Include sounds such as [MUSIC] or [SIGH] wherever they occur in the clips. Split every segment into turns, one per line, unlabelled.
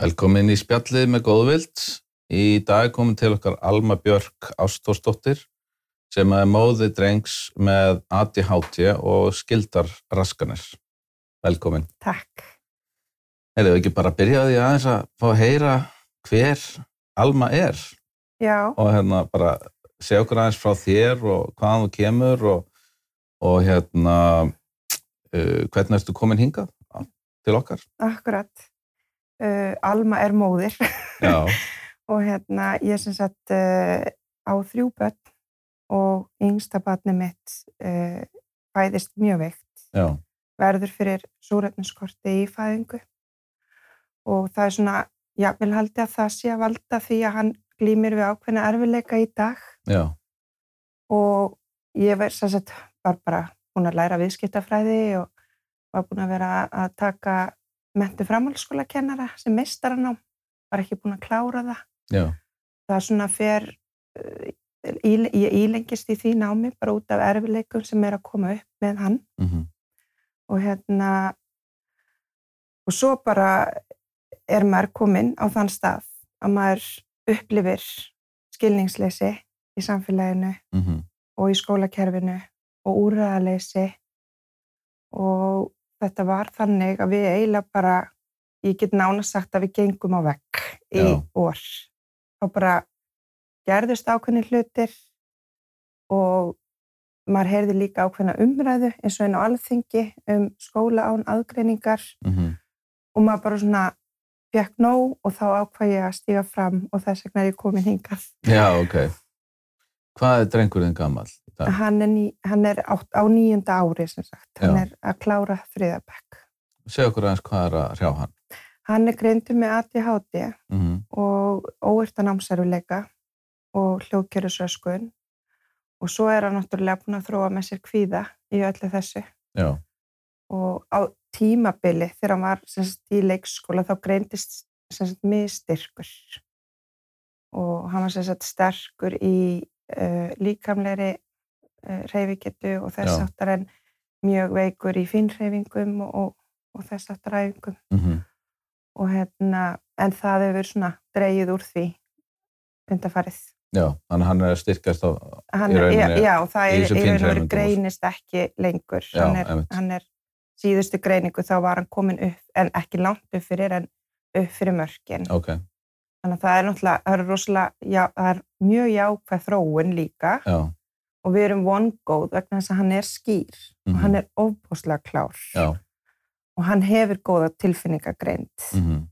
Velkomin í spjallið með góðvild. Í dag er komin til okkar Alma Björk Ástórsdóttir sem er móði drengs með ADHD og skildar raskanir. Velkomin.
Takk.
Erum við ekki bara að byrja á því aðeins að fá að heyra hver Alma er
Já,
og hérna bara segja okkur aðeins frá þér og hvaðan þú kemur og, og hérna uh, hvernig ertu komin hingað til okkar?
akkurat. Uh, Alma er móðir [LAUGHS]
Já,
og hérna ég sem sagt uh, á þrjú börn og yngsta barni mitt uh, fæðist mjög veikt,
já,
verður fyrir súrefninskorti í fæðingu og það er svona, já, vil haldi að það sé að valda því að hann glýmir við ákveðna erfileika í dag
já,
og ég var, sem sagt, var bara búin að læra viðskiptafræði og var búin að vera að taka mentu framhaldsskóla kennara sem meistaran á, var ekki búin að klára það.
já,
Það er svona fer, eh, í, ég ílengist í því námi bara út af erfileikum sem er að koma upp með hann
mm
og hérna og svo bara er maður kominn á þann stað að maður upplifir skilningsleysi í samfélaginu
mhm,
og í skólakerfinu og úrræðaleysi og þetta var þannig að við eiginlega bara, ég get nána sagt að við gengum á vekk í
Já.
orð. Þá bara gerðust ákveðni hlutir og maður heyrði líka ákveðna umræðu eins og einn á alþingi um skóla án aðgreiningar
mhm.
og maður bara svona fekk nóg og þá ákvað ég að stíga fram og þess vegna er ég komin hingað.
Já, ok. Hvað er drengurinn gammal?
Hann er, ný, hann er á, á nýjunda ári sem sagt, hann
Já.
er að klára þriðabæk.
Segð okkur aðeins hvað er að hrjá hann.
Hann er greindur með ADHD
Mm
og óertan ámsæruleika og hljóðkjörusröskun og svo er hann náttúrulega búin að þróa með sér kvíða í öllu þessu
Já,
og á tímabili þegar hann var sem sagt, í leikskóla þá greindist sem sagt, mistyrkur og hann var sem sagt, sterkur í uh, líkamleiri uh, reyfingetu og þess
Já.
áttar en mjög veikur í finnreyfingum og, og, og þess áttar æfingum
mm
og hérna, en það hefur svona dreigið úr því undarfarið.
já, þannig að hann er að styrkast á...
Hann,
Í rauninni,
já, já,
í
það er,
þessum
í raun og veru
kynhreyfingum.
greinist ekki lengur.
Já,
hann, er,
einmitt.
hann er síðustu greiningu, þá var hann komin upp, en ekki langt upp fyrir, en upp fyrir mörkin.
Ok,
Þannig að það er náttúrulega, það er rosalega, já, það er mjög jákvæð þróun líka
já,
og við erum vongóð vegna þess að hann er skýr og
Mhm.
hann er ofbúslega klár
já,
og hann hefur góða tilfinningagreind.
mm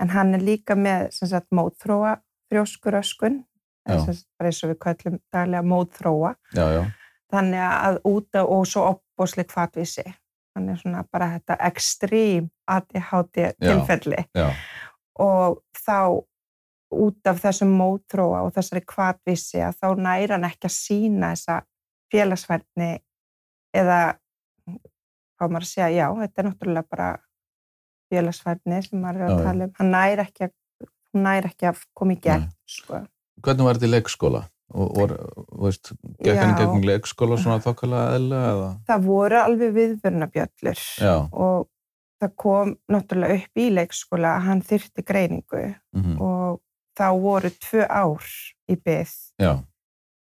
en hann er líka með sem sagt, mótþróa frjóskuröskun
Já.
eða sem sagt, bara eins og við kallum daglega mótþróa
já, já,
þannig að úta og svo opbósleik fatvísi hann er svona bara þetta ekstrím ADHD tilfelli
já,
og þá út af þessum mótþróa og þessari kvatvísi að þá næra hann ekki að sína þessa félagsverðni eða hvað maður að segja, já, þetta er náttúrulega bara félagsverðni sem maður er
Já,
að
já.
tala um, hann næra ekki að hún næra ekki að koma í gegn, sko.
Hvernig var þetta í leikskóla? Og, og þú veist, gekk hann í
Já,
gegnum leikskóla svona þokkalega eðla eða?
það voru alveg viðvörnabjöllur
Já,
og það kom náttúrulega upp í leikskóla að hann þyrti greiningu
mm
og þá voru tvö ár í byggð
já,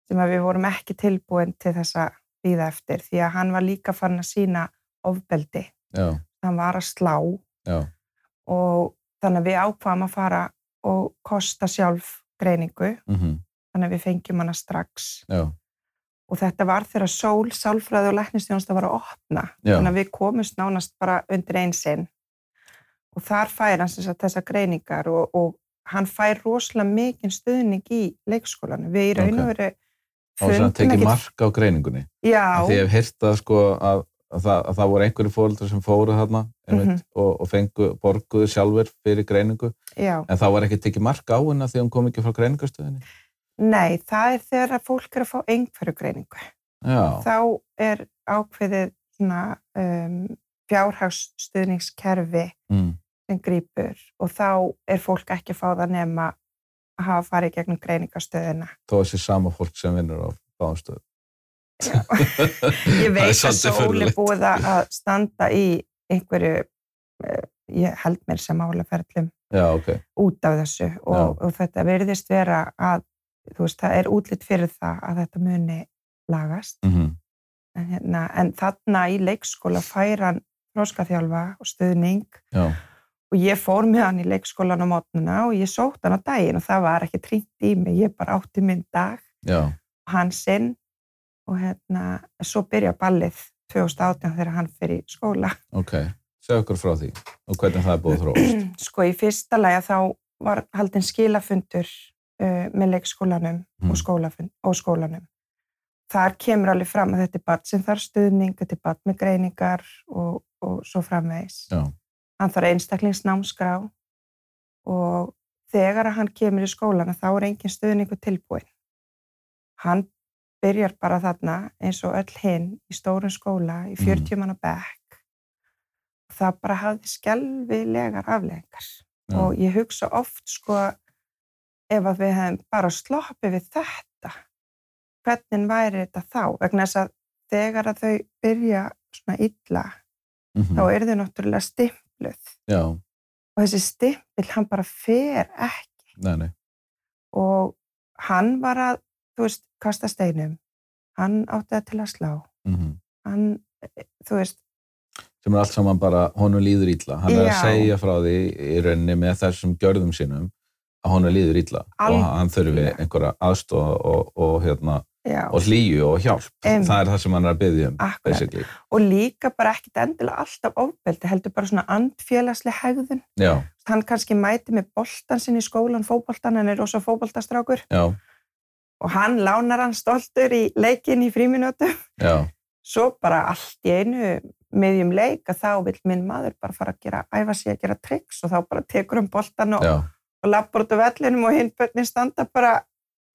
sem að við vorum ekki tilbúin til þess að býða eftir því að hann var líka farin að sína ofbeldi.
já,
Hann var að slá
já,
og þannig að við ákvaðum að fara og kosta sjálf greiningu,
mm
þannig að við fengjum hana strax.
já,
Og þetta var þegar sól, sálfræði og læknistjónast að var að opna.
já,
Þannig að við komumst nánast bara undir einsinn. Og þar fær hann sem sagt þessar greiningar og, og hann fær rosalega mikinn stuðning í leikskólanum. Við í raun og veru
og þess að hann
fundum
tekið
ekkert-
mark á greiningunni.
Já,
Því ég hef heyrt að sko að, að, það, að það voru einhverju fóreldrar sem fóru þarna einmitt,
Mhm.
og, og fengu, borguðu sjálfur fyrir greiningu
já.
En það var ekki tekið mark á henni af því að hún kom ekki frá greiningarstöðinni?
Nei, það er þegar að fólk er að fá einhverju greiningu.
Já,
Þá er ákveðið svona um, fjárhagsstuðningskerfi
mm,
sem grýpur og þá er fólk ekki að fá það nema að hafa farið í gegnum greiningastöðina.
þó að sé sama fólk sem vinnur á
[LAUGHS]
báðumstöðu.
Ég
Það er
veit
[LAUGHS]
að
svolítið
sól er
furðulegt.
búið að að standa í einhverju eh, ég held mér sem álaferðlum
já, ok.
út af þessu og, og þetta verðist vera að, þú veist, það er útlitt fyrir það að þetta muni lagast.
Mm
En, hérna, en þarna í leikskóla fær hann þróskaþjálfa og stuðning
Já,
og ég fór með hann í leikskólan á mótnuna og ég sótt hann á daginn og það var ekki trýnt í mig, ég bara átti minn dag
já,
og hann sinn og hérna, svo byrja ballið 2018 þegar hann fyrir skóla.
ok. Segð okkur frá því og hvernig það er búið að þróast.
Sko í fyrsta lagi þá var haldin skilafundur uh, með leikskólanum
Mm.
og, skólafund, og skólanum. Þar kemur alveg fram að þetta er barn sem þarf stuðning, þetta er barn með greiningar og, og svo framvegis.
Já.
Hann þarf einstaklingsnámskrá og þegar að hann kemur í skólana þá er engin stuðningu tilbúin. Hann byrjar bara þarna eins og öll hinn í stórum skóla
Mhm.
í 40 manna bekk. Það bara hafði skelvilegar afleðingar
Já.
og ég hugsa oft sko ef að við hefum bara sloppið við þetta hvernig væri þetta þá vegna þess að þegar að þau byrja svona illa
Mhm.
þá eru þau náttúrulega stimpluð
Já,
og þessi stimpill hann bara fer ekki
nei, nei.
og hann var að þú veist, kasta steinum hann átti það til að slá
Mm
hann, eh, þú veist,
Sem er allt saman bara, honum líður illa. Hann er að
Já.
segja frá því í rauninni með þessum gjörðum sínum að honum líður illa og
Algjörlega.
hann þurfi einhverja aðstof og, og, hérna,
já,
og hlýju og hjálp.
Einmitt.
Það er það sem hann er að byggja um,
akkurat
basically.
og líka bara ekkit endilega alltaf ofbeldi heldur bara svona andfélagsleg hegðun
Já,
hann kannski mæti með boltan sinn í skólan, fótboltan, hann er rosa fótboltastrákur
já,
og hann lánar hann stoltur í leikinn í fríminútu.
já,
Svo bara allt í einu miðjum leik að þá vill minn maður bara fara að gera, æfa sig að gera triks og þá bara tekur hann boltan og,
já,
og lappar út á vellinum og hinn börnin standa bara,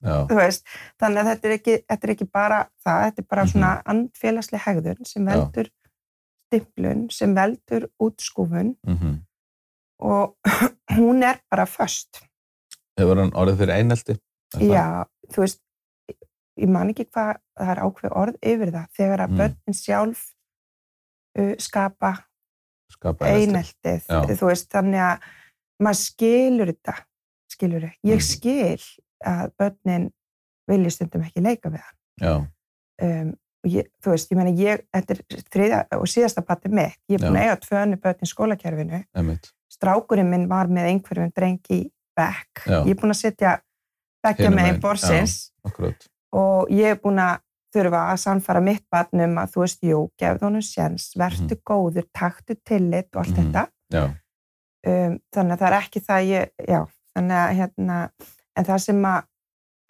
já,
þú veist, þannig að þetta er ekki, þetta er ekki bara það, þetta er bara
Mhm.
svona andfélagsleg hegðun sem
Já.
veldur stimplun, sem veldur útskúfun
mhm.
og [CLEARS THROAT] hún er bara föst.
Hefur hann orðið fyrir einelti? Er það-
Já, þú veist, ég- ég man ekki hvað það er ákveð orð yfir það þegar að
Mm.
börnin sjálf uh, skapa
Skapa einelti?
eineltið.
Já.
Þú veist, þannig að maður skilur þetta, skilur þetta.
Mm.
Ég skil að börnin vilja stundum ekki leika við það.
Já,
Um, og ég, þú veist, ég meina, ég, þetta er þriða og síðasta patti mitt. Ég er búin að eiga tvö önnu börn í skólakerfinu
einmitt.
strákurinn minn var með einhverjum drengi í bekk.
Já.
Ég er búin að setja bekkja
Hinum
með
megin,
einn borsins
Akkurat.
og ég er búin að þurfa að sannfara mitt barnum að þú veist, jú, gefðu honum séns, vertu góður, taktu tillit og allt
Mhm.
þetta.
Já,
Um, þannig að það er ekki það ég, já, þannig að hérna, en það sem að,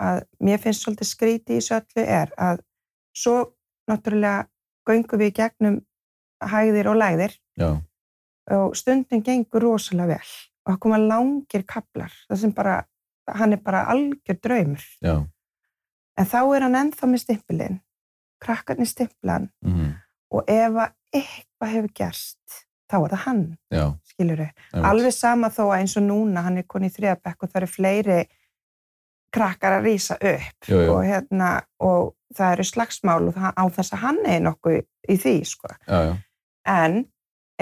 að mér finnst svolítið skríti í þessu öllu er að svo náttúrulega göngum við í gegnum hægðir og lægðir
já,
og stundin gengur rosalega vel og það koma langir kaplar það sem bara, hann er bara algjör draumur
já.
en þá er hann ennþá með stimpilinn krakkarnir stimplan
mhm,
og ef að eitthvað hefur gerst þá er það hann,
Já,
skilur við
einmitt.
alveg sama þó að eins og núna hann er koni í þriðabekk og það eru fleiri krakkar að rýsa upp
Jú, jú.
og hérna og það eru slagsmál og það, á þess að hann er nokkuð í því sko
Já, já,
en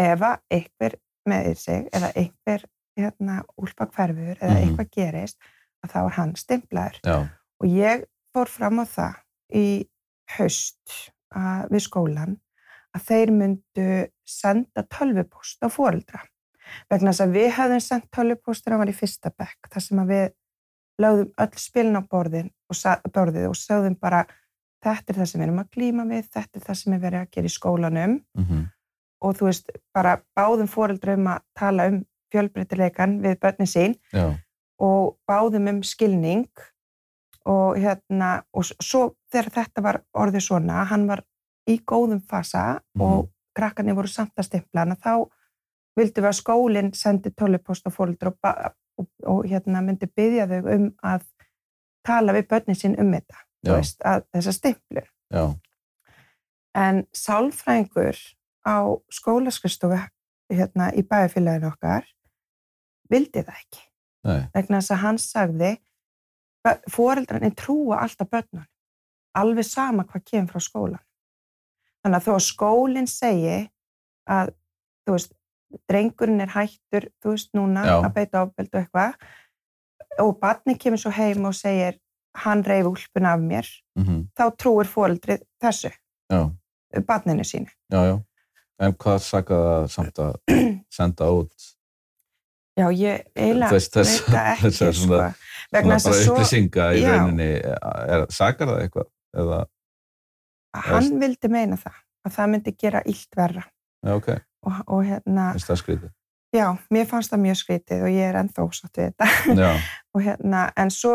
ef að einhver meðir sig eða einhver hérna, úlpa hverfur eða
Mhm.
eitthvað gerist að þá er hann stimplaður
já,
og ég fór fram á það í haust að, við skólan að þeir myndu senda tölvupóst á fóreldra vegna þess að við hefðum sendt tölvupóst þegar hann var í fyrsta bekk þar sem að við lögðum öll spilin á borðin og sa- borðið og sögðum bara þetta er það sem við erum að glíma við, þetta er það sem er verið að gera í skólanum
mhm,
og þú veist, bara báðum foreldrum að tala um fjölbreytileikan við börnin sín
já,
og báðum um skilning og hérna, og s- svo þegar þetta var orðið svona, hann var í góðum fasa
Mhm.
og krakkarnir voru samt að stimpla hann að þá vildum við að skólinn sendi tölvupost á fóreldur og, ba- og, og hérna myndi byggja þau um að tala við börnin sín um þetta, þú
Já.
veist, að þessa stimplu
já,
en sálfræðingur á skólaskristofu hérna í bæjarfélaginu okkar vildi það ekki
nei,
vegna þess að hann sagði foreldrarnir trúa alltaf börnun alveg sama hvað kemur frá skólan þannig að þó að skólinn segi að þú veist, drengurinn er hættur, þú veist núna,
Já.
að beita ofbeldi og eitthvað og barni kemur svo heim og segir hann reyf úlpun af mér,
Mm
þá trúir fóreldrið þessu,
Já,
barninu sínu.
já, já. En hvað saka það samt að
[CLEARS THROAT]
senda út
Já, ég eiginlega
Þess- þess-
veit það ekki,
þessar
sko.
svona- svona
Vegna þess að
bara
svo,
upplýsinga í
Já.
rauninni? Er, sakar það eitthvað? Eða,
hann vildi meina það, að það myndi gera illt verra.
já, ok,
Og, og hérna,
finnst það skrítið.
já, mér fannst það mjög skrítið og ég er ennþá satt við þetta.
Já,
og hérna, en svo,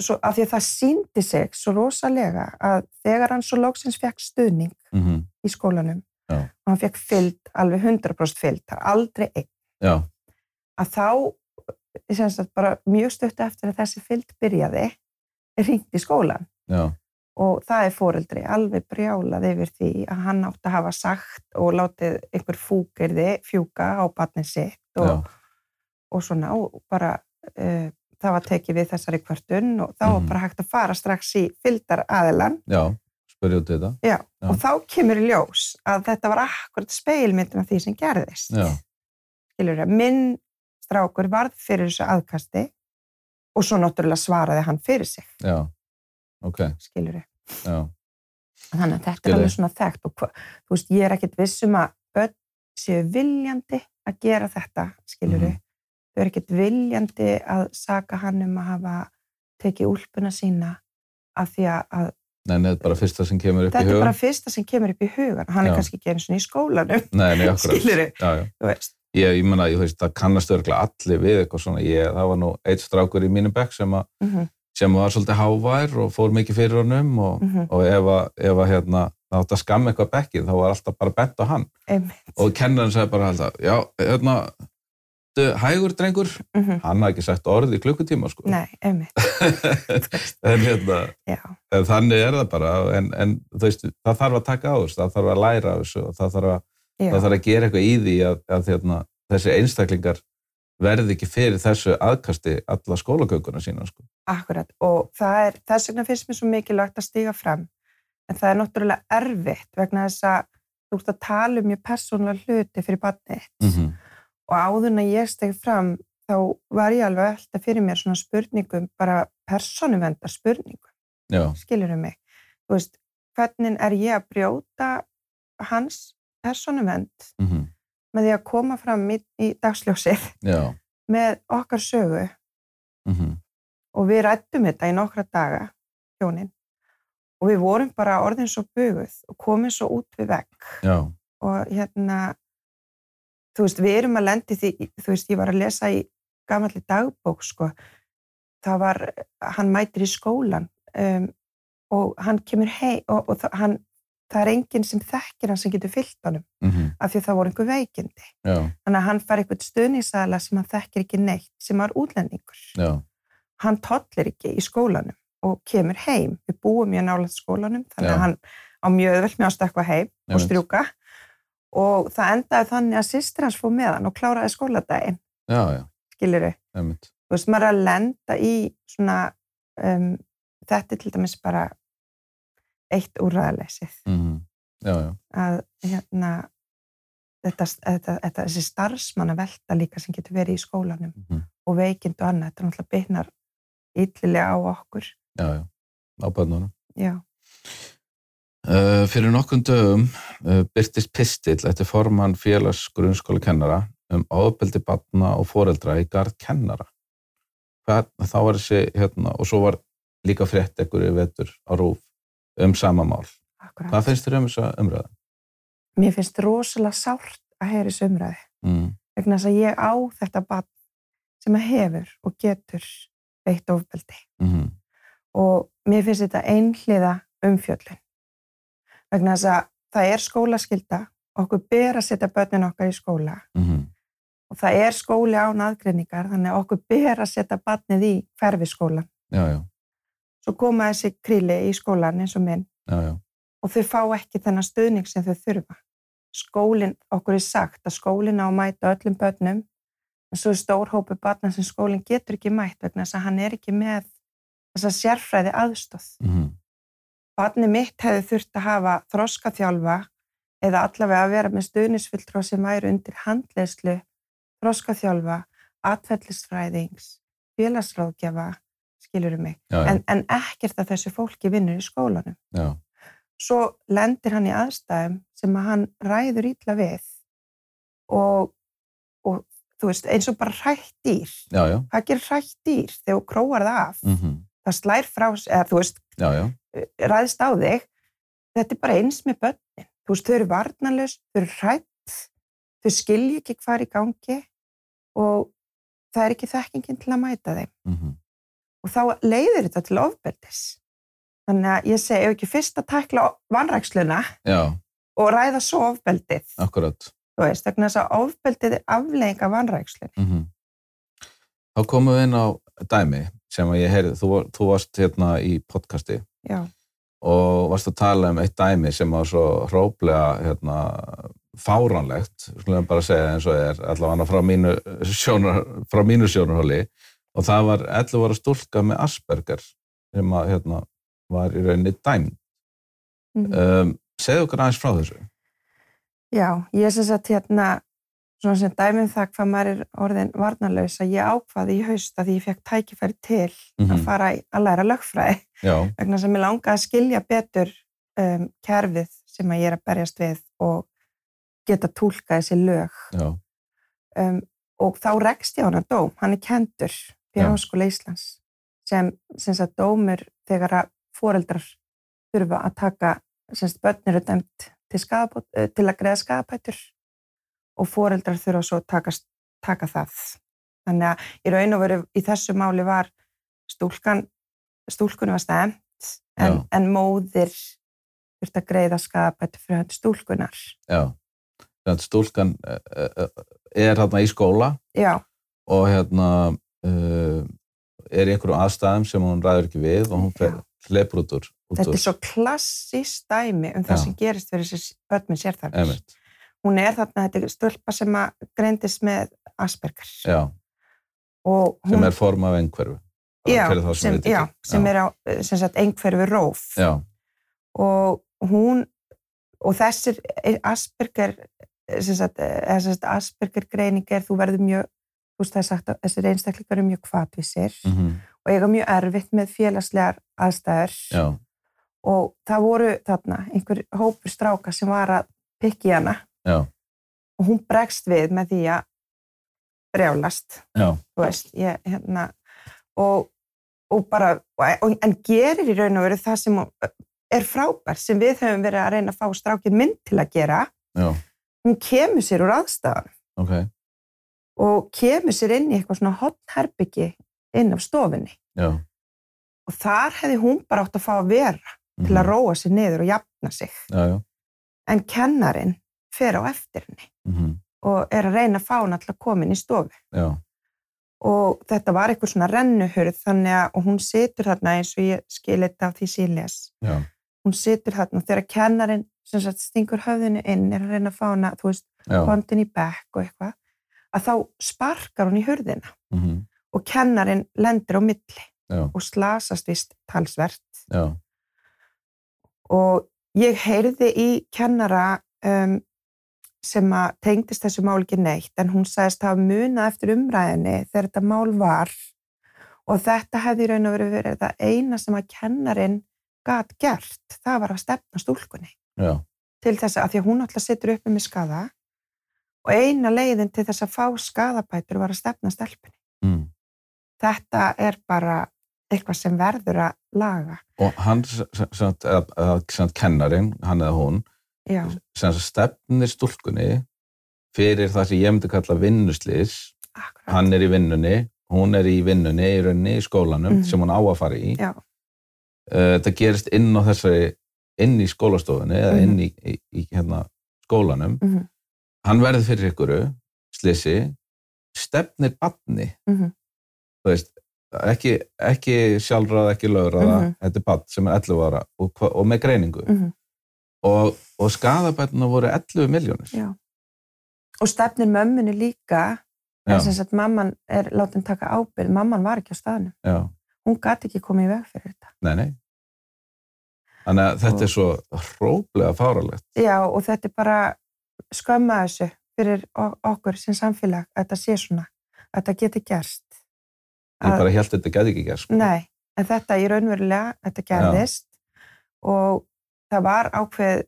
svo af því að það síndi sig svo rosalega að þegar hann svo lóksins fekk stuðning
mm
í skólanum
Já.
og hann fekk fylgd, alveg 100% fylgd, það er aldrei einn,
já,
að þá ég sem sagt bara mjög stutt eftir að þessi fylgd byrjaði, ringt í skólan
já,
og það er foreldri alveg brjálað yfir því að hann átt að hafa sagt og látið einhver fúkirði fjúka á barnið sitt og,
já,
og svona og bara uh, það var tekið við þessari kvartun og þá var
Mhm.
bara hægt að fara strax í fyldar aðilan
já, spyrja út í þetta. Já.
og þá kemur í ljós að þetta var akkurat speilmyndin af því sem gerðist.
Já.
Skilur ég, minn strákur varð fyrir þessu aðkasti og svo náttúrulega svaraði hann fyrir sig,
Já, ok,
skilur ég.
já,
Þannig að þetta
Skil ég.
er alveg svona þekkt og hva, þú veist, ég er ekkit viss um að börn séu viljandi að gera þetta, skilur
Mhm.
ég. Þau eru ekkit viljandi að saka hann um að hafa tekið úlpuna sína af því að, að
nei, neður bara fyrsta sem kemur upp í
þetta er
hugan.
bara fyrsta sem kemur upp í hugan. Hann
Já.
er kannski ekki einu svona í skólanum, [LAUGHS]
Nei, nei, akkurat.
skilur
Já, já.
þú veist.
Ég, ég menna, ég veist, það kannast örglega allir við eitthvað svona. Ég, það var nú eitt strákur í mínum bekk sem, að-
Mm -hmm,
sem var svolítið hávær og fór mikið fyrir honum og,
mhm,
og ef að, ef að hérna, það átti að skamma eitthvað bekkið, þá var alltaf bara bent á hann. Og kennarinn sagði bara alltaf, já, hérna, du, hægur drengur, hann hafði ekki sagt orð í klukkutíma, sko.
mhm. Nei, einmitt,
[LAUGHS] en hérna,
já.
en þannig er það bara, en, en þú veist, það þarf að taka á þessu, það þarf að læra á þessu og það þarf að,
já.
það þarf að gera eitthvað í því að, að hérna, þessi einstaklingar verði ekki fyrir þessu aðkasti alla skólakökuna sína, sko.
Akkurat, og það er, þess vegna finnst mér svo mikilvægt að stíga fram. En það er náttúrulega erfitt vegna þess að þú ert að tala um mjög persónulega hluti fyrir barnið. þitt.
-hmm.
Og áðurinn að ég stegi fram, þá var ég alveg alltaf fyrir mér svona spurningum, bara persónuvendar spurningum,
Já,
skilurðu mig. Þú veist, hvernig er ég að brjóta hans persónuvend
mm
með því að koma fram í, í dagsljósið
já,
með okkar sögu
mm
og við rættum þetta í nokkra daga, hjónin, og við vorum bara orðin svo buguð og komin svo út við vekk
já,
og hérna, þú veist, við erum að lendi því, þú veist, ég var að lesa í gamalli dagbók, sko, það var, hann mætir í skólan um, og hann kemur hei og, og það, hann, það er enginn sem þekkir hann sem getur fyllt honum
mm
af því að það voru einhver veikindi.
já,
Þannig að hann fær eitthvað stuðningsæðla sem hann þekkir ekki neitt, sem var útlendingur
já,
hann tollir ekki í skólanum og kemur heim. Við búum mjög nálega skólanum, þannig
Já.
að hann á mjög öðvöld með að stökkva heim og
Einmitt.
strjúka. Og það endaði þannig að sýstir hans fór með hann og kláraði skóladaginn,
já, já,
skilur við.
einmitt,
Þú veist, maður er að lenda í svona, um, þetta er til dæmis bara eitt úrræðaleysið.
mm já, já,
Að hérna, þetta, þetta, þetta, þessi starfsmanna velta líka sem getur verið í skólanum
mm
og veikind og annað, þetta er náttúrulega bitnar illilega á okkur.
já, já, á börnunum.
Já.
Uh, fyrir nokkun dögum uh, byrtist pistill eftir formann félags grunnskóla kennara um ábeldi batna og foreldra í garð kennara. Hvað, þá var þessi, hérna, og svo var líka frétt ekkur í vetur á rúf um sama mál.
Akkurat.
Hvað finnst þér um þessa umræða?
Mér finnst rosalega sárt að heyra þessu umræði
Mm,
vegna þess að ég á þetta barn sem að hefur og getur veitt ofbeldi
mm,
og mér finnst þetta einhliða umfjöllun vegna þess að það er skólaskylda okkur ber að setja börnin okkar í skóla
mm,
og það er skóli án aðgreiningar þannig að okkur ber að setja barnið í hverfiskólan
já, já,
svo koma þessi kríli í skólan eins og minn
já, já,
og þau fá ekki þennan stuðning sem þau þurfa. Skólinn, okkur er sagt að skólinn á að mæta öllum börnum, en svo er stór hópu barna sem skólinn getur ekki mætt vegna þess að hann er ekki með þessa sérfræði aðstóð.
mm,
Barni mitt hefði þurft að hafa þroskaþjálfa eða allavega að vera með stuðnisfulltrá sem væri undir handleyslu, þroskaþjálfa, atfellisfræðings, félagsráðgjafa, skilurum mig,
já, já,
en, en ekkert að þessu fólki vinnur í skólanum.
já,
svo lendir hann í aðstæðum sem að hann ræður ítla við og, og þú veist, eins og bara hrætt dýr.
já, já,
Hvað gerir hrætt dýr þegar þú króar það af?
mhm,
Það slær frá, s- eða þú veist,
já, já,
ræðist á þig. Þetta er bara eins með börnin. Þú veist, þau eru varnarlaus, þau eru hrætt, þau skilja ekki hvað er í gangi og það er ekki þekkingin til að mæta þeim
mhm,
og þá leiðir þetta til ofbeldis. Þannig að ég segi, ef ekki fyrst að tækla vanræksluna,
já,
og ræða svo ofbeldið.
akkurat,
Þú veist, vegna þess að ofbeldið er aflegging af vanrækslunni.
mhm. Þá komum við inn á dæmi sem að ég heyrði, þú, var- þú varst hérna í podcasti
Já,
og varst að tala um eitt dæmi sem var svo hróplega hérna, fáránlegt, skulum bara segja eins og er, allavega frá mínu, sjónar, frá mínu sjónarhóli og það var 11 ára stúlka með Asperger sem að, hérna, var í rauninni dæm.
Mhm.
Um, segðu okkur aðeins frá þessu.
já, ég sem sagt hérna, svona sem dæmið það hvað maður er orðin varnarlaus að ég ákvaði í haust að því ég fekk tækifæri til
Mhm.
að fara í, að læra lögfræði [LAUGHS]
Já,
vegna sem ég langaði að skilja betur um, kerfið sem að ég er að berjast við og geta túlka þessi lög.
já,
um, og þá rekst ég á hana dóm, hann er kendur
Já.
fyrir Háskóla Íslands sem, sem sagt, dómur þegar að foreldrar þurfa að taka sem sagt, börn eru dæmt til, skadabót, eh, til að greiða skadabætur og foreldrar þurfa svo að taka, taka það þannig að í raun og veru í þessu máli var stúlkan stúlkunni var stæmt en,
Já.
en móðir þurft að greiða skadabætur fyrir hann stúlkunar
já. Þannig að stúlkan eh, eh, er hérna í skóla
já,
og hérna uh, er í einhverjum aðstæðum sem hún ræður ekki við og hún fer, hleypur út úr. Út
Þetta
úr.
er svo klassist dæmi um það
Já.
sem gerist fyrir þessi börn með sérþarfir.
Einmitt,
Hún er þarna, þetta er stölpa sem að greindist með Asperger.
já,
og
sem
hún,
er form af einhverfu.
já,
fyrir þá sem
sem,
vita ekki.
já, sem
Já.
er á eh, sem sagt, einhverfi róf.
Já,
Og hún, og þessir Asperger, eh, sem sagt, eh, eða sem sagt Asperger greining er þú verður mjög, þú veist það er sagt að þessir einstaklingar eru mjög kvatvísir
mm
og eiga mjög erfitt með félagslegar aðstæður.
já,
og það voru þarna einhver hópur stráka sem var að pikki hana
já,
og hún bregst við með því að brjálast,
já,
þú veist, ég, hérna, og, og bara, og, en gerir í raun og veru það sem hún- er frábær, sem við höfum verið að reyna að fá strákin mynd til að gera,
já,
hún kemur sér úr aðstæðan
ok,
og kemur sér inn í eitthvað svona hotnherbyggi inn af stofinni
já.
og þar hefði hún bara átt að fá að vera til
mhm,
að róa sér niður og jafna sig.
Já, já,
en kennarin fer á eftir henni
mhm,
og er að reyna að fá hann alltaf komin í stofu
já,
og þetta var eitthvað svona rennuhurð þannig að og hún situr þarna eins og ég skil þetta af því sem ég les
já,
hún situr þarna og þegar kennarin sem sagt stingur höfðinu inn er að reyna að fá hana, þú veist,
já,
kontin í bekk og eitthvað, að þá sparkar hún í hurðina
mhm,
og kennarin lendir á milli
Já.
og slasast vist talsvert
já,
og ég heyrði í kennara um, sem að tengdist þessu mál ekki neitt en hún sagðist hafa munað eftir umræðinni þegar þetta mál var og þetta hefði í raun og verið verið það eina sem að kennarin gat gert, það var að stefna stúlkunni
já,
til þess að af því að hún alltaf situr uppi með skada og eina leiðin til þess að fá skadabætur var að stefna stelpunni.
mhm.
Þetta er bara eitthvað sem verður að laga.
Og hann, sem sagt, eða- eða sem sagt kennarin, hann eða hún,
Já,
sem sagt stefnir stúlkunni fyrir það sem ég myndi kalla vinnuslis,
akkurat.
hann er í vinnunni, hún er í vinnunni í rauninni í skólanum
Mhm.
sem hún á að fara í.
Já.
Eh, Þetta gerist inn á þessari, inn í skólastofunni eða
Mhm.
inn í, í, í hérna, skólanum.
Mhm.
Hann verður fyrir ykkuru, slisi, stefnir badni,
Mhm.
þú veist, ekki, ekki sjálfráð, ekki lögraða,
Mhm.
þetta er badn sem er 11 ára og, hva- og með greiningu.
Mhm.
Og, og skadabætuna voru 11 miljónir.
Já. og stefnir mömmunni líka
Já,
en sem sagt mamman er látin taka ábyrð mamman var ekki á staðnum,
já,
hún gati ekki komið í veg fyrir þetta
nei, nei, Þannig að þetta er svo hróplega fáralegt.
Já, og þetta er bara skömma þessu fyrir o- okkur sem samfélag að þetta sé svona, að þetta geti gerst.
Ég bara held að þetta gæti ekki gerst. sko.
Nei, en þetta í raunverulega, þetta gerðist og það var ákveð,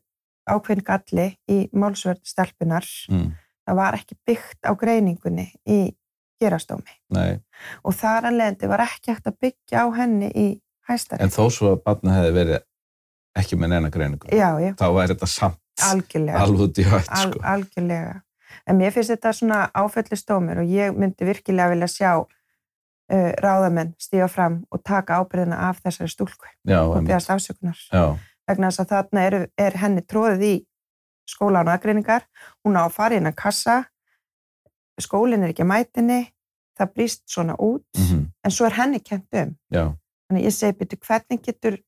ákveðin galli í málsvörð stelpunar.
Mm,
Það var ekki byggt á greiningunni í gerastómi
nei,
og þar að leiðandi var ekki hægt að byggja á henni í
en
hæstari.
þó svo að barnið hefði verið ekki með neina greiningu.
Já, já,
Þá væri þetta samt
algjörlega.
alveg út í hött,
Al,
sko.
algjörlega. En mér finnst þetta svona áfellistómur og ég myndi virkilega vilja sjá uh, ráðamenn stíga fram og taka ábyrðina af þessari stúlku
Já,
og
einmitt.
beðast afsökunar.
Já,
Vegna þess að þarna er, er henni tróðið í skólan og aðgreiningar, hún á að fara innan kassa, skólinn er ekki að mætinni, það brýst svona út,
mhm,
en svo er henni kent um.
já,
Þannig að ég segi, betur, hvernig getur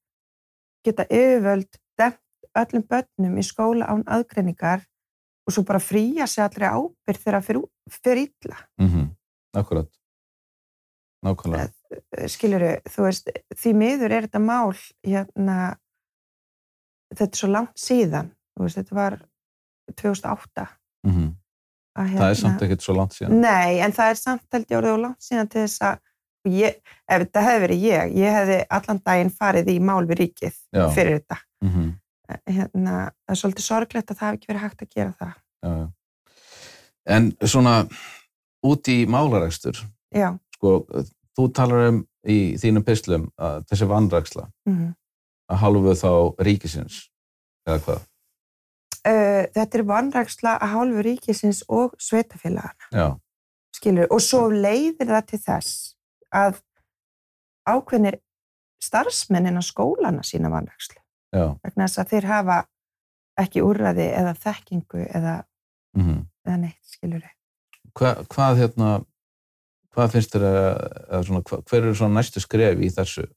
geta yfirvöld dæmt öllum börnum í skóla án aðgreiningar og svo bara fríja sig allri ábyrð þegar fyrir, fyrir illa.
mhm, akkurat. Nákvæmlega.
Skilur þú veist, því miður er þetta mál, hérna, þetta er svo langt síðan, þú veist, þetta var 2008.
Mhm.
að Hérna,
Það er samt ekkert svo langt síðan.
Nei, en það er samt held ég orðið og langt síðan til þess að og ég, ef þetta hefði verið ég, ég hefði allan daginn farið í mál við ríkið
Já.
fyrir þetta.
Mhm.
hérna, það er svolítið sorglegt að það hafi ekki verið hægt að gera það.
já, já. En svona, út í málarækstur,
Já,
sko, þú talar um í þínum pislum að þessi vanræksla
mm
að hálfu þá ríkisins, eða hvað?
uh, þetta er vanræksla að hálfu ríkisins og sveitafélagana,
Já,
skilur, og svo leiðir það til þess að ákveðnir starfsmennin á skólana sína vanrækslu,
já,
vegna þess að þeir hafa ekki úrraði eða þekkingu eða,
mhm.
eða neitt, skilur.
Hva, hvað hérna, hvað finnst þér að, að svona, hva, hver eru svona næstu skref í þessu?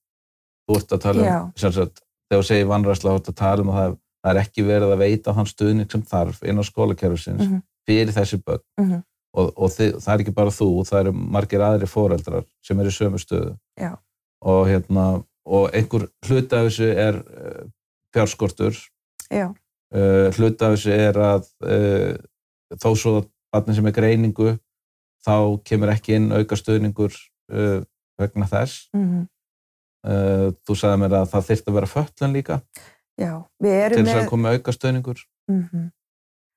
Þú ert að tala um, sem sagt, þegar þú segir vanræsla, þú ert að tala um að það, það er ekki verið að veita þann stuðning sem þarf inn á skólakerfisins
Mhm.
fyrir þessi börn
Mm -hmm.
og, og þið, það er ekki bara þú, það eru margir aðri foreldrar sem eru í sömu stöðu
Já.
og hérna, og einhver hluti af þessu er uh, fjárskortur
Já,
uh, hluti af þessu er að uh, þó svo að barni sem er greiningu þá kemur ekki inn auka stuðningur uh, vegna þess.
mm
Uh, þú sagði mér að það þyrfti að vera föllun líka
já, við erum
til þess
með...
að koma auka stuðningur
Mm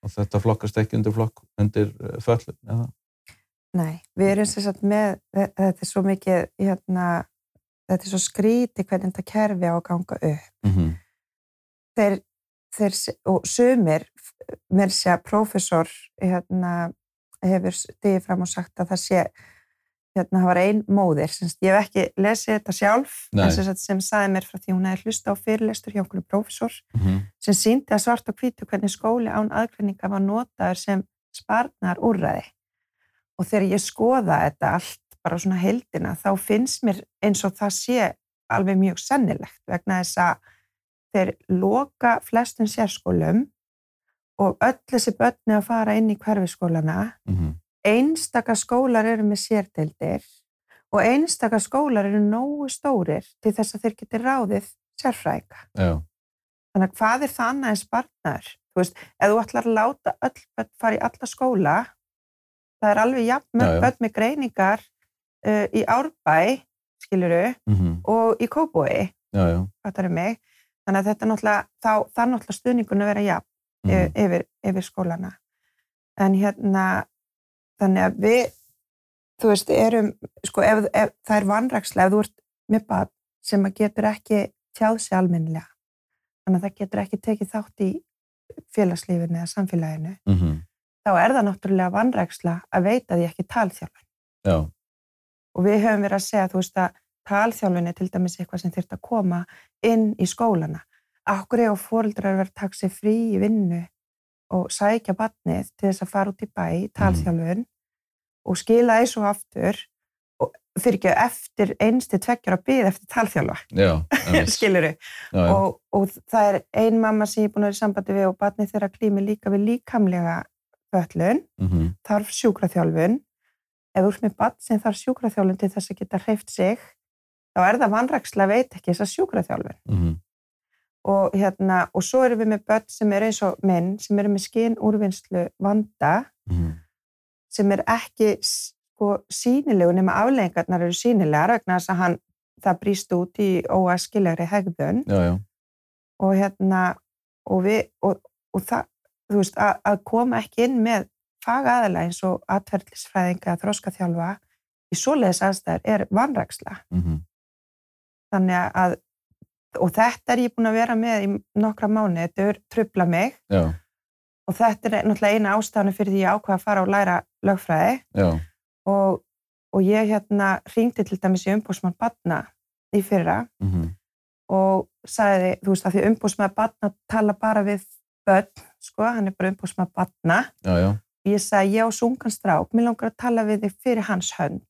og þetta flokkast ekki undir flokk undir uh, föllun. eða?
Nei, við erum sem sagt með, þetta er svo mikið, hérna, þetta er svo skríti hvernig þetta kerfi á að ganga upp.
Mhm.
Þeir, þeir, og sumir, mér sé að prófessor, hérna, hefur stigið fram og sagt að það sé, hérna, það var ein móðir, sem sagt, ég hef ekki lesið þetta sjálf,
Nei.
en sem sagt, sem saði mér frá því hún hefði hlusta á fyrirlestur hjá okkur prófessor,
Mhm.
sem síndi að svart og hvítu hvernig skóli án aðgreininga var notaður sem sparnar úrræði. Og þegar ég skoða þetta allt bara svona heildina, þá finnst mér eins og það sé alveg mjög sennilegt vegna þess að þeir loka flestum sérskólum og öll þessi börni að fara inn í hverfiskólana.
Mhm.
Einstaka skólar eru með sérdeildir og einstaka skólar eru nógu stórir til þess að þeir geti ráðið sérfræðinga.
Já.
Þannig að hvað er það annað en spartnar? Þú veist, ef þú ætlar að láta öll börn fara í alla skóla, það er alveg jafn
Já, já.
mörg börn með greiningar uh, í Árbæ, skiluru,
Mhm.
og í Kóbói,
Já, já.
fattar mig. Þannig að þetta er náttúrulega, þá, það er náttúrulega stuðningun að vera jafn
Mhm.
mm. yfir, yfir skólana. En hérna, þannig að við, þú veist, erum, sko, ef, ef það er vanrakslega, ef þú ert með barn sem að getur ekki tjáð sig almennilega, þannig að það getur ekki tekið þátt í félagslífinu eða samfélaginu,
Mhm.
þá er það náttúrulega vanræksla að veita því ekki talþjálfun.
Já.
Og við höfum verið að segja, þú veist, að talþjálfun er til dæmis eitthvað sem þyrft að koma inn í skólana. Akkur eða fóreldrar verið að taka sér frí í vinnu og sækja batnið til þess að fara út í bæ, í talþjálfun, og skila þessu aftur, og fyrir ekki eftir einstu tveggjara byð eftir talþjálfa, [LAUGHS]
Já. einmitt.
skiluru.
Já, já.
[LAUGHS] og, og það er ein mamma sem ég er búin að vera í sambandi við og barnið þeirra klími líka við líkamlega föllun,
Mhm.
þarf sjúkraþjálfun ef þú ert með barn sem þarf sjúkraþjálfun til þess að geta hreift sig þá er það vanræksla að veita ekki þess að sjúkraþjálfun
Mhm.
og, hérna, og svo erum við með börn sem eru eins og minn, sem eru með skinn úrvinnslu vanda,
Mhm.
sem er ekki sko, sýnilegu nema afleggingarnar eru sýnilegar vegna þess að hann, það brýst út í óaskilegri hegðun
Já, já.
og hérna og við og, og það, þú veist, að, að koma ekki inn með fagaðala eins og atverðlisfræðinga, þróskaþjálfa í svoleiðis aðstæður er vanræksla
Mhm.
þannig að og þetta er ég búin að vera með í nokkra mánu, þetta er trubla mig
Já,
og þetta er náttúrulega eina ástæðan fyrir því ég ákvað að fara og læra lögfræði
já.
og, og ég hérna ringdi til dæmis í umbósmann batna í fyrra
Mhm.
og sagði, þú veist, að því umbósmann batna tala bara við börn, sko, hann er bara umbósmann batna
Já, já.
og ég sagði, ég á sungan strák, mér langar að tala við þig fyrir hans hönd.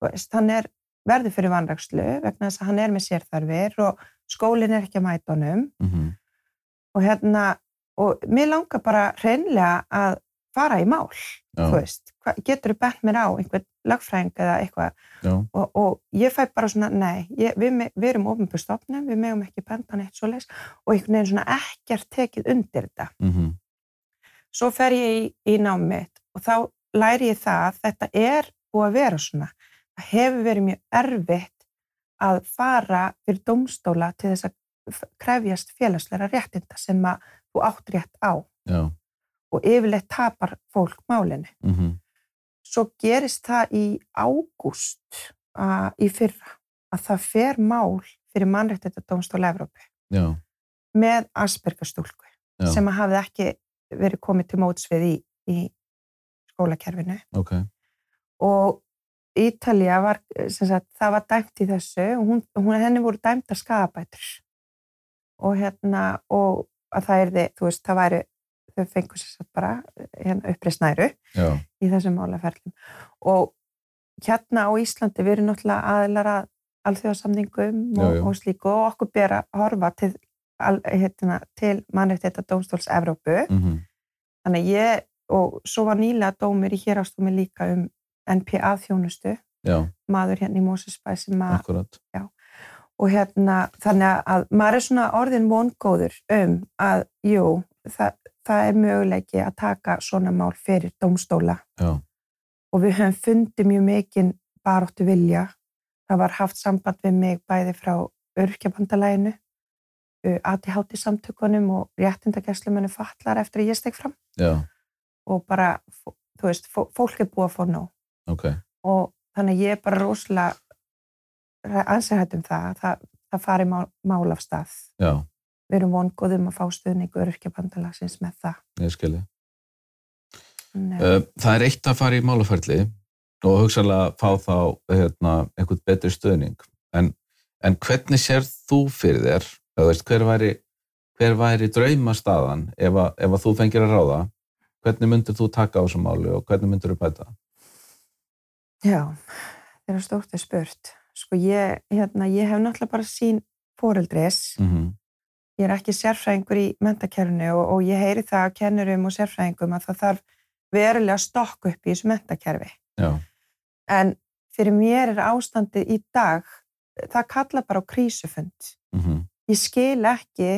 Þú veist, hann er verður fyrir vanrækslu vegna þess að hann er með sérþarfir og skólinn er ekki að mæta honum
Mhm.
og hérna, og mér langar bara hreinlega að fara í mál
Já,
þú veist, hva, getur þú bent mér á einhvern lagfræðing eða eitthvað
já.
og, og ég fæ bara svona, nei, ég, við, me- við erum ofinbjörn stofnum, við megum ekki benda neitt svoleiðis og einhvern veginn svona ekkert tekið undir þetta.
Mhm.
Svo fer ég í, í námið mitt og þá læri ég það að þetta er búið að vera svona. Það hefur verið mjög erfitt að fara fyrir dómstóla til þess að f- krefjast félagsleira réttinda sem að þú átt rétt á
Já.
og yfirleitt tapar fólk málinu.
Mhm.
svo gerist það í ágúst uh, í fyrra að það fer mál fyrir mannréttindadómstól Evrópu
Já,
með Aspergerstúlku
já.
sem að hafði ekki verið komið til mótsvið í, í skólakerfinu
Ok.
og Ítalía var, eh, sem sagt, það var dæmt í þessu og hún, hún, henni voru dæmta skadabætur og hérna og að það er þið, þú veist, það væri þau fengur sér satt bara eh, hérna, uppreisnæru
Já.
í þessum málaferlum. Og hérna á Íslandi, við erum náttúrulega aðlar að alþjóðasamningum
Já,
og,
já.
og slíku og okkur ber að horfa til, al, hérna, til mannréttita dómstóls Evrópu.
Mhm.
Þannig að ég, og svo var nýlega dómur í hérastómi líka um NPA þjónustu,
Já,
maður hérna í Mósesbæ sem að,
akkurat.
og hérna, þannig að maður er svona orðin vongóður um að, jú, það, það er möguleiki að taka svona mál fyrir dómstóla
Já.
og við höfum fundið mjög mikinn baróttu vilja. Það var haft samband við mig bæði frá örkjabandalæginu, ATHT samtökunum og réttindageslumennu fatlar eftir að ég steg fram
Já,
og bara, fó- þú veist, fó- fólk er búið að fá nóg
ok.
og þannig að ég er bara rosalega ansæðhætt um það, að það, það fari mál, mál af stað.
Já,
Við erum vongóðum að fá stuðning örkjabandalagsins með það.
ég skilji.
Nei.
Uh, það er eitt að fara í málaferli og hugsaðlega fá þá hérna, einhvern betri stöðning. En, en hvernig sér þú fyrir þér? Eða, þú veist, hver, væri, hver væri draumastaðan ef að, ef að þú fengir að ráða? Hvernig myndir þú taka á þessu máli og hvernig myndir þú bæta?
Já, þeirra stórt er spurt. Sko ég, hérna, ég hef náttúrulega bara sín foreldris.
Mm -hmm.
Ég er ekki sérfræðingur í mentakerfinu og, og ég heyri það að kennurum og sérfræðingum að það þarf verulega stokk upp í þessu mentakerfi.
Já,
En fyrir mér er ástandið í dag, það kalla bara á krísufund.
mm
Ég skil ekki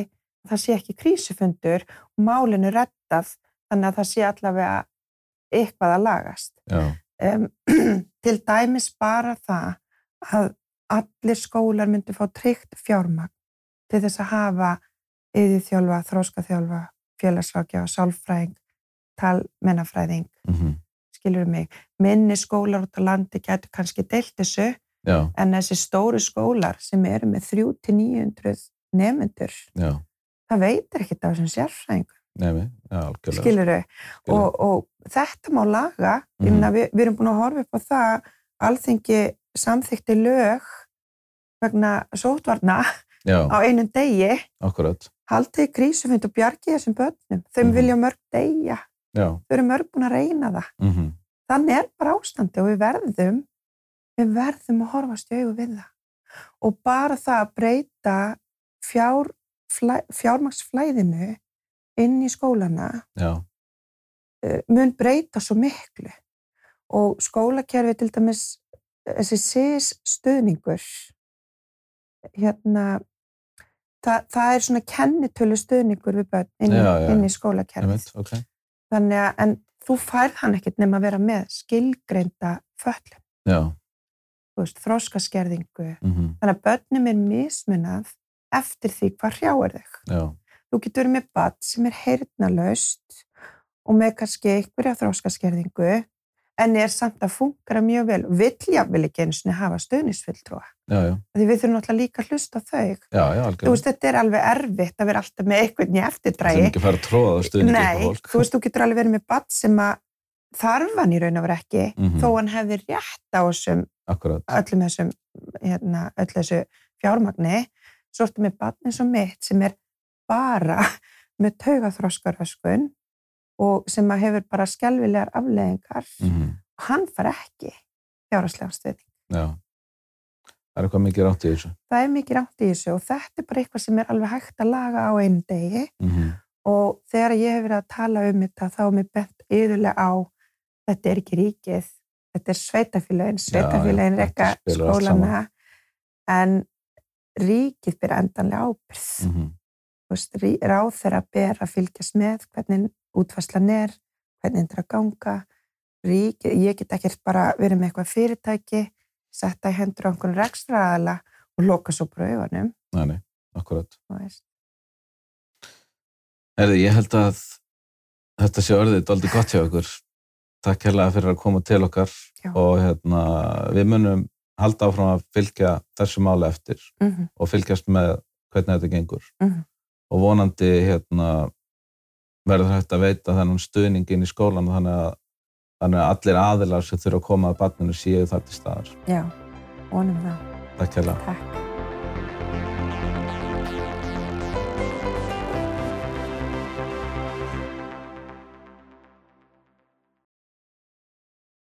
að það sé ekki krísufundur og málinu rettað þannig að það sé allavega eitthvað að lagast.
já,
um, [CLEARS THROAT] til dæmis bara það að allir skólar myndu fá tryggt fjármagn til þess að hafa yðurþjálfa, þróskaþjálfa, félagsrákja, sálfræðing, talmennafræðing,
mm
skilur mig. Minni skólar út á landi getur kannski deilt þessu
já,
en þessi stóru skólar sem eru með 3-900 nefnendur,
já,
það veitir ekki það sem sérfræðing,
nefni, já, algjörlega.
skilur þau og, og þetta má laga mm
Mhm.
-hmm. við, við erum búin að horfa upp á það að alþingi samþykti lög vegna sótvarna
Já,
á einum degi
akkurat.
haldið krísufund og bjargið þessum börnum þau
Mhm.
vilja mörg deyja,
Já,
þau eru mörg búin að reyna það
mm
þannig er bara ástandi og við verðum við verðum að horfast í augu við það og bara það að breyta fjár, flæ, fjármaksflæðinu inn í skólana
já,
eh, mun breyta svo miklu og skólakerfi til dæmis þessi SIS stuðningur hérna það, það er svona kennitölu stuðningur við börn inn, í-
Já, já.
inn í
ég
skólakerfið.
veit, ok.
Þannig að, en þú færð hann ekkert nema að vera með skilgreinda föllum,
Já,
þú veist, þróskaskerðingu.
mm
Þannig að börnum er mismunað eftir því hvað hrjáir þig.
já,
Þú getur verið með bat sem er heyrnalaust og með kannski einhverja þróskaskerðingu en er samt að fungara mjög vel og vill jafnvel ekki einu sinni hafa stöðnisfulltrúa.
já, já,
Því við þurfum náttúrulega líka að hlusta á þau.
já, já
Þú
algjörlega.
veist, þetta er alveg erfitt að vera alltaf með einhvern í
Það er
eftirdrægi.
ekki að fara að tróða stuðningi
Nei,
upp á fólk.
þú veist, þú getur alveg verið með bat sem að þarf hann í raun og vera ekki
Mhm.
þó hann hefði rétt á þessum
Akkurat,
öllum þessum, hérna, öll þessu fjármagni, svo ertu með barn eins og mitt sem er bara [LAUGHS] með taugaþróskaröskun og sem að hefur bara skelvilegar afleðingar
mm
og hann far ekki fjárhagslega stuðning.
já. Það er eitthvað mikið rátt í þessu.
Það er mikið rátt í þessu og þetta er bara eitthvað sem er alveg hægt að laga á einu degi
Mm
og þegar ég hef verið að tala um þetta þá er mér bent yðurlega á þetta er ekki ríkið, þetta er sveitafélagin, sveitafélagin
já,
rekka
þetta spilur allt
skólana en ríkið byrja endanlega ábyrð mm.
mhm,
veist, rí- ráðherra ber að fylgjast með hvernig útfæslan er hvernig þetta er að ganga ríkið, ég get ekkert bara verið með eitthvað fyrirtæki, setta í hendur á einhvern rekstraðala og loka svo bara augunum,
Nei, nei, akkurat.
þú veist
Herði, ég held að þetta sé orðið daldi gott hjá ykkur. Takk hérlega fyrir að koma til okkar
Já.
og hérna, við munum halda áfram að fylgja þessu máli eftir
mm -hmm.
og fylgjast með hvernig þetta gengur.
Mhm.
Og vonandi hérna, verður hægt að veita þennan stuðning inn í skólan þannig að, þannig að allir aðilar sem þurfa að koma að barninu séu þar til staðar.
Já, vonum það,
Takk hérlega.
takk